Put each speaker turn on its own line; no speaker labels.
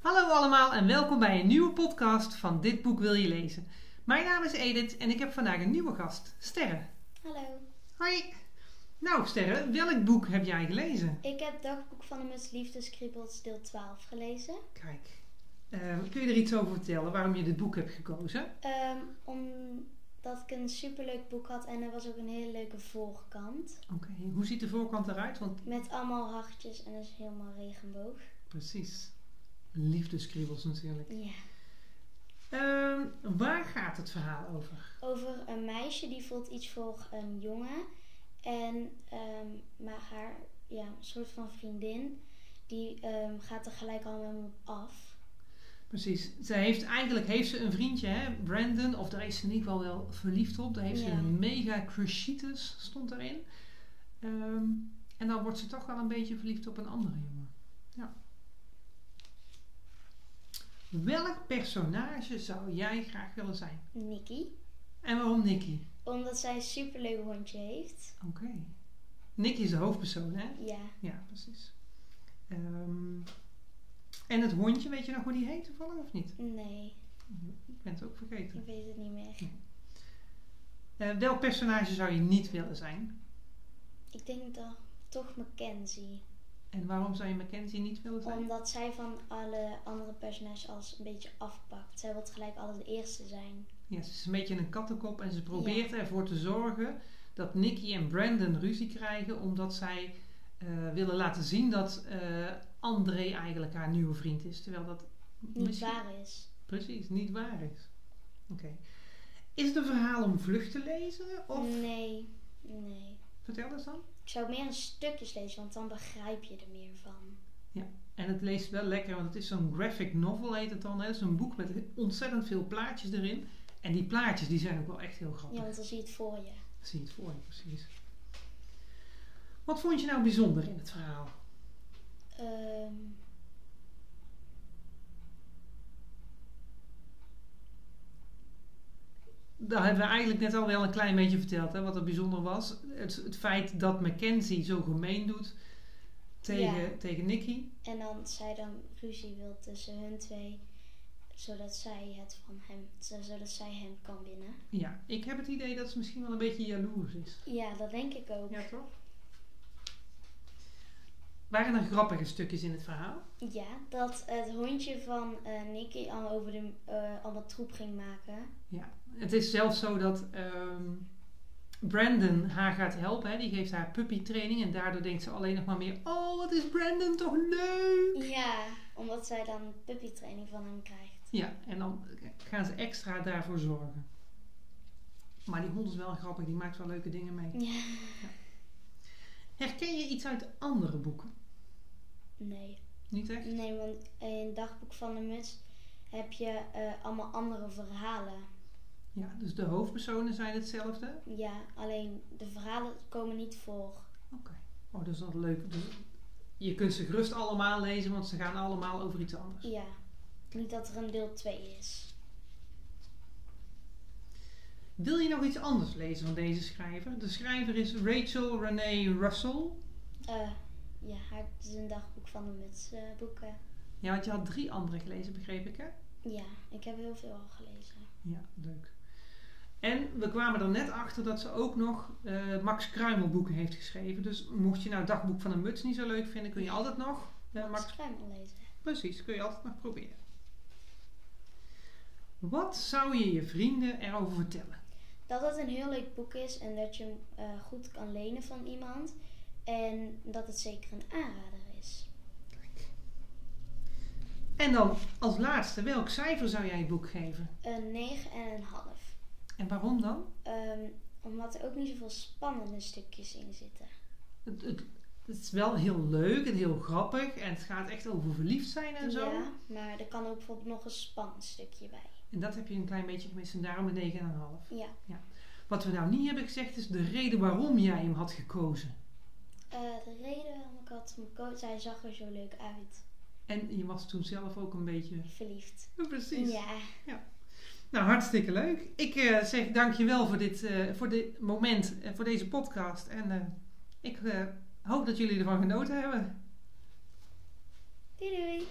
Hallo allemaal en welkom bij een nieuwe podcast van Dit Boek Wil Je Lezen. Mijn naam is Edith en ik heb vandaag een nieuwe gast, Sterre.
Hallo,
Hoi! Nou Sterre, welk boek heb jij gelezen?
ik heb Dagboek van de Muts Liefdeskriebels deel 12 gelezen.
Kijk, eh, kun je er iets over vertellen waarom je dit boek hebt gekozen?
Ehm, omdat ik een superleuk boek had en er was ook een hele leuke voorkant.
Oké, hoe ziet de voorkant eruit? Want
Met allemaal hartjes en dat is helemaal regenboog.
precies, liefdeskriebels natuurlijk.
Ja.
Ehm, waar gaat het verhaal over?
Over een meisje die voelt iets voor een jongen. En ehm, maar haar ja, een soort van vriendin, die ehm, gaat er gelijk al met hem op af.
Precies, ze heeft, eigenlijk heeft ze een vriendje, hè? Brandon, of daar is ze in ieder geval wel verliefd op. Daar heeft ze
Ja.
een mega crucitus, stond daarin. Ehm, en dan wordt ze toch wel een beetje verliefd op een andere jongen. Ja. Welk personage zou jij graag willen zijn?
Nikki.
En waarom Nicky?
Omdat zij een superleuk hondje heeft.
Oké. Nicky is de hoofdpersoon, hè?
Ja.
Ja, precies. Ehm, en het hondje, weet je nog hoe die heet toevallig of niet?
Nee,
Ik ben het ook vergeten.
ik weet het niet meer.
Eh, welk personage zou je niet willen zijn?
Ik denk dat toch Mackenzie.
En waarom zou je Mackenzie niet willen zijn?
Omdat zij van alle andere personages alles een beetje afpakt. Zij wil gelijk altijd de eerste zijn.
Ja, ze is een beetje een kattenkop en ze probeert ervoor te zorgen dat Nicky en Brandon ruzie krijgen omdat zij eh, willen laten zien dat eh, André eigenlijk haar nieuwe vriend is. Terwijl dat
Niet
misschien
waar is.
precies niet waar is. Oké. Is het een verhaal om vlucht te lezen? Of
Nee, nee.
vertel eens dan?
Ik zou meer in stukjes lezen, want dan begrijp je er meer van.
En het leest wel lekker, want het is zo'n graphic novel heet het dan. Hè? Het is een boek met ontzettend veel plaatjes erin. En die plaatjes die zijn ook wel echt heel grappig.
Ja, want dan zie je het voor je.
Zie je het voor je, precies. Wat vond je nou bijzonder in het verhaal?
Ehm,
Dat hebben we eigenlijk net al wel een klein beetje verteld, hè, wat er bijzonder was. Het, het feit dat Mackenzie zo gemeen doet tegen,
Ja.
tegen Nicky.
en dan zij dan ruzie wil tussen hun twee. Zodat zij het van hem, zodat zij hem kan winnen.
Ja, ik heb het idee dat ze misschien wel een beetje jaloers is.
Ja, dat denk ik ook.
Ja, toch? Waren er grappige stukjes in het verhaal?
Ja, dat het hondje van eh, Nicky al over de, eh, allemaal troep ging maken.
Het is zelfs zo dat ehm, Brandon haar gaat helpen. Hè? Die geeft haar puppytraining. En daardoor denkt ze alleen nog maar meer... Oh, wat is Brandon toch leuk!
Ja, omdat zij dan puppytraining van hem krijgt.
Ja, en dan gaan ze extra daarvoor zorgen. Maar die hond is wel grappig. Die maakt wel leuke dingen mee.
Ja.
Herken je iets uit andere boeken?
Nee.
Niet echt?
Nee, want in het dagboek van de muts heb je eh, allemaal andere verhalen.
Ja, dus de hoofdpersonen zijn hetzelfde.
Ja, alleen de verhalen komen niet voor.
Oh, dat is wel leuk. Dus je kunt ze gerust allemaal lezen, want ze gaan allemaal over iets anders.
Ja. Niet dat er een deel 2 is.
Wil je nog iets anders lezen van deze schrijver? De schrijver is Rachel Renee Russell.
Eh, ja, haar- het is een dagboek van de muts eh, boeken.
Ja, want je had drie andere gelezen, begreep ik hè?
Ja, ik heb heel veel al gelezen.
Ja, leuk. En we kwamen er net achter dat ze ook nog eh, Max Kruimel boeken heeft geschreven. Dus mocht je nou Dagboek van een Muts niet zo leuk vinden, kun je altijd nog eh, Max
Max Kruimel lezen.
Precies, kun je altijd nog proberen. Wat zou je je vrienden erover vertellen?
dat het een heel leuk boek is en dat je hem eh, goed kan lenen van iemand. En dat het zeker een aanrader is.
En dan als laatste, welk cijfer zou jij het boek geven?
Een 9 en een half.
En waarom dan?
Ehm, omdat er ook niet zoveel spannende stukjes in zitten.
Het, het, het is wel heel leuk en heel grappig en het gaat echt over verliefd zijn en zo.
Ja, maar er kan ook bijvoorbeeld nog een spannend stukje bij.
En dat heb je een klein beetje gemist en daarom een 9,5.
Ja,
Wat we nou niet hebben gezegd is de reden waarom jij hem had gekozen.
Eh, de reden waarom ik had hem gekozen, zij zag er zo leuk uit.
En je was toen zelf ook een beetje...
Verliefd.
Precies.
Ja,
Nou, hartstikke leuk. Ik eh zeg dankjewel voor dit, eh, voor dit moment, en voor deze podcast. En eh, ik eh, hoop dat jullie ervan genoten hebben.
doei doei.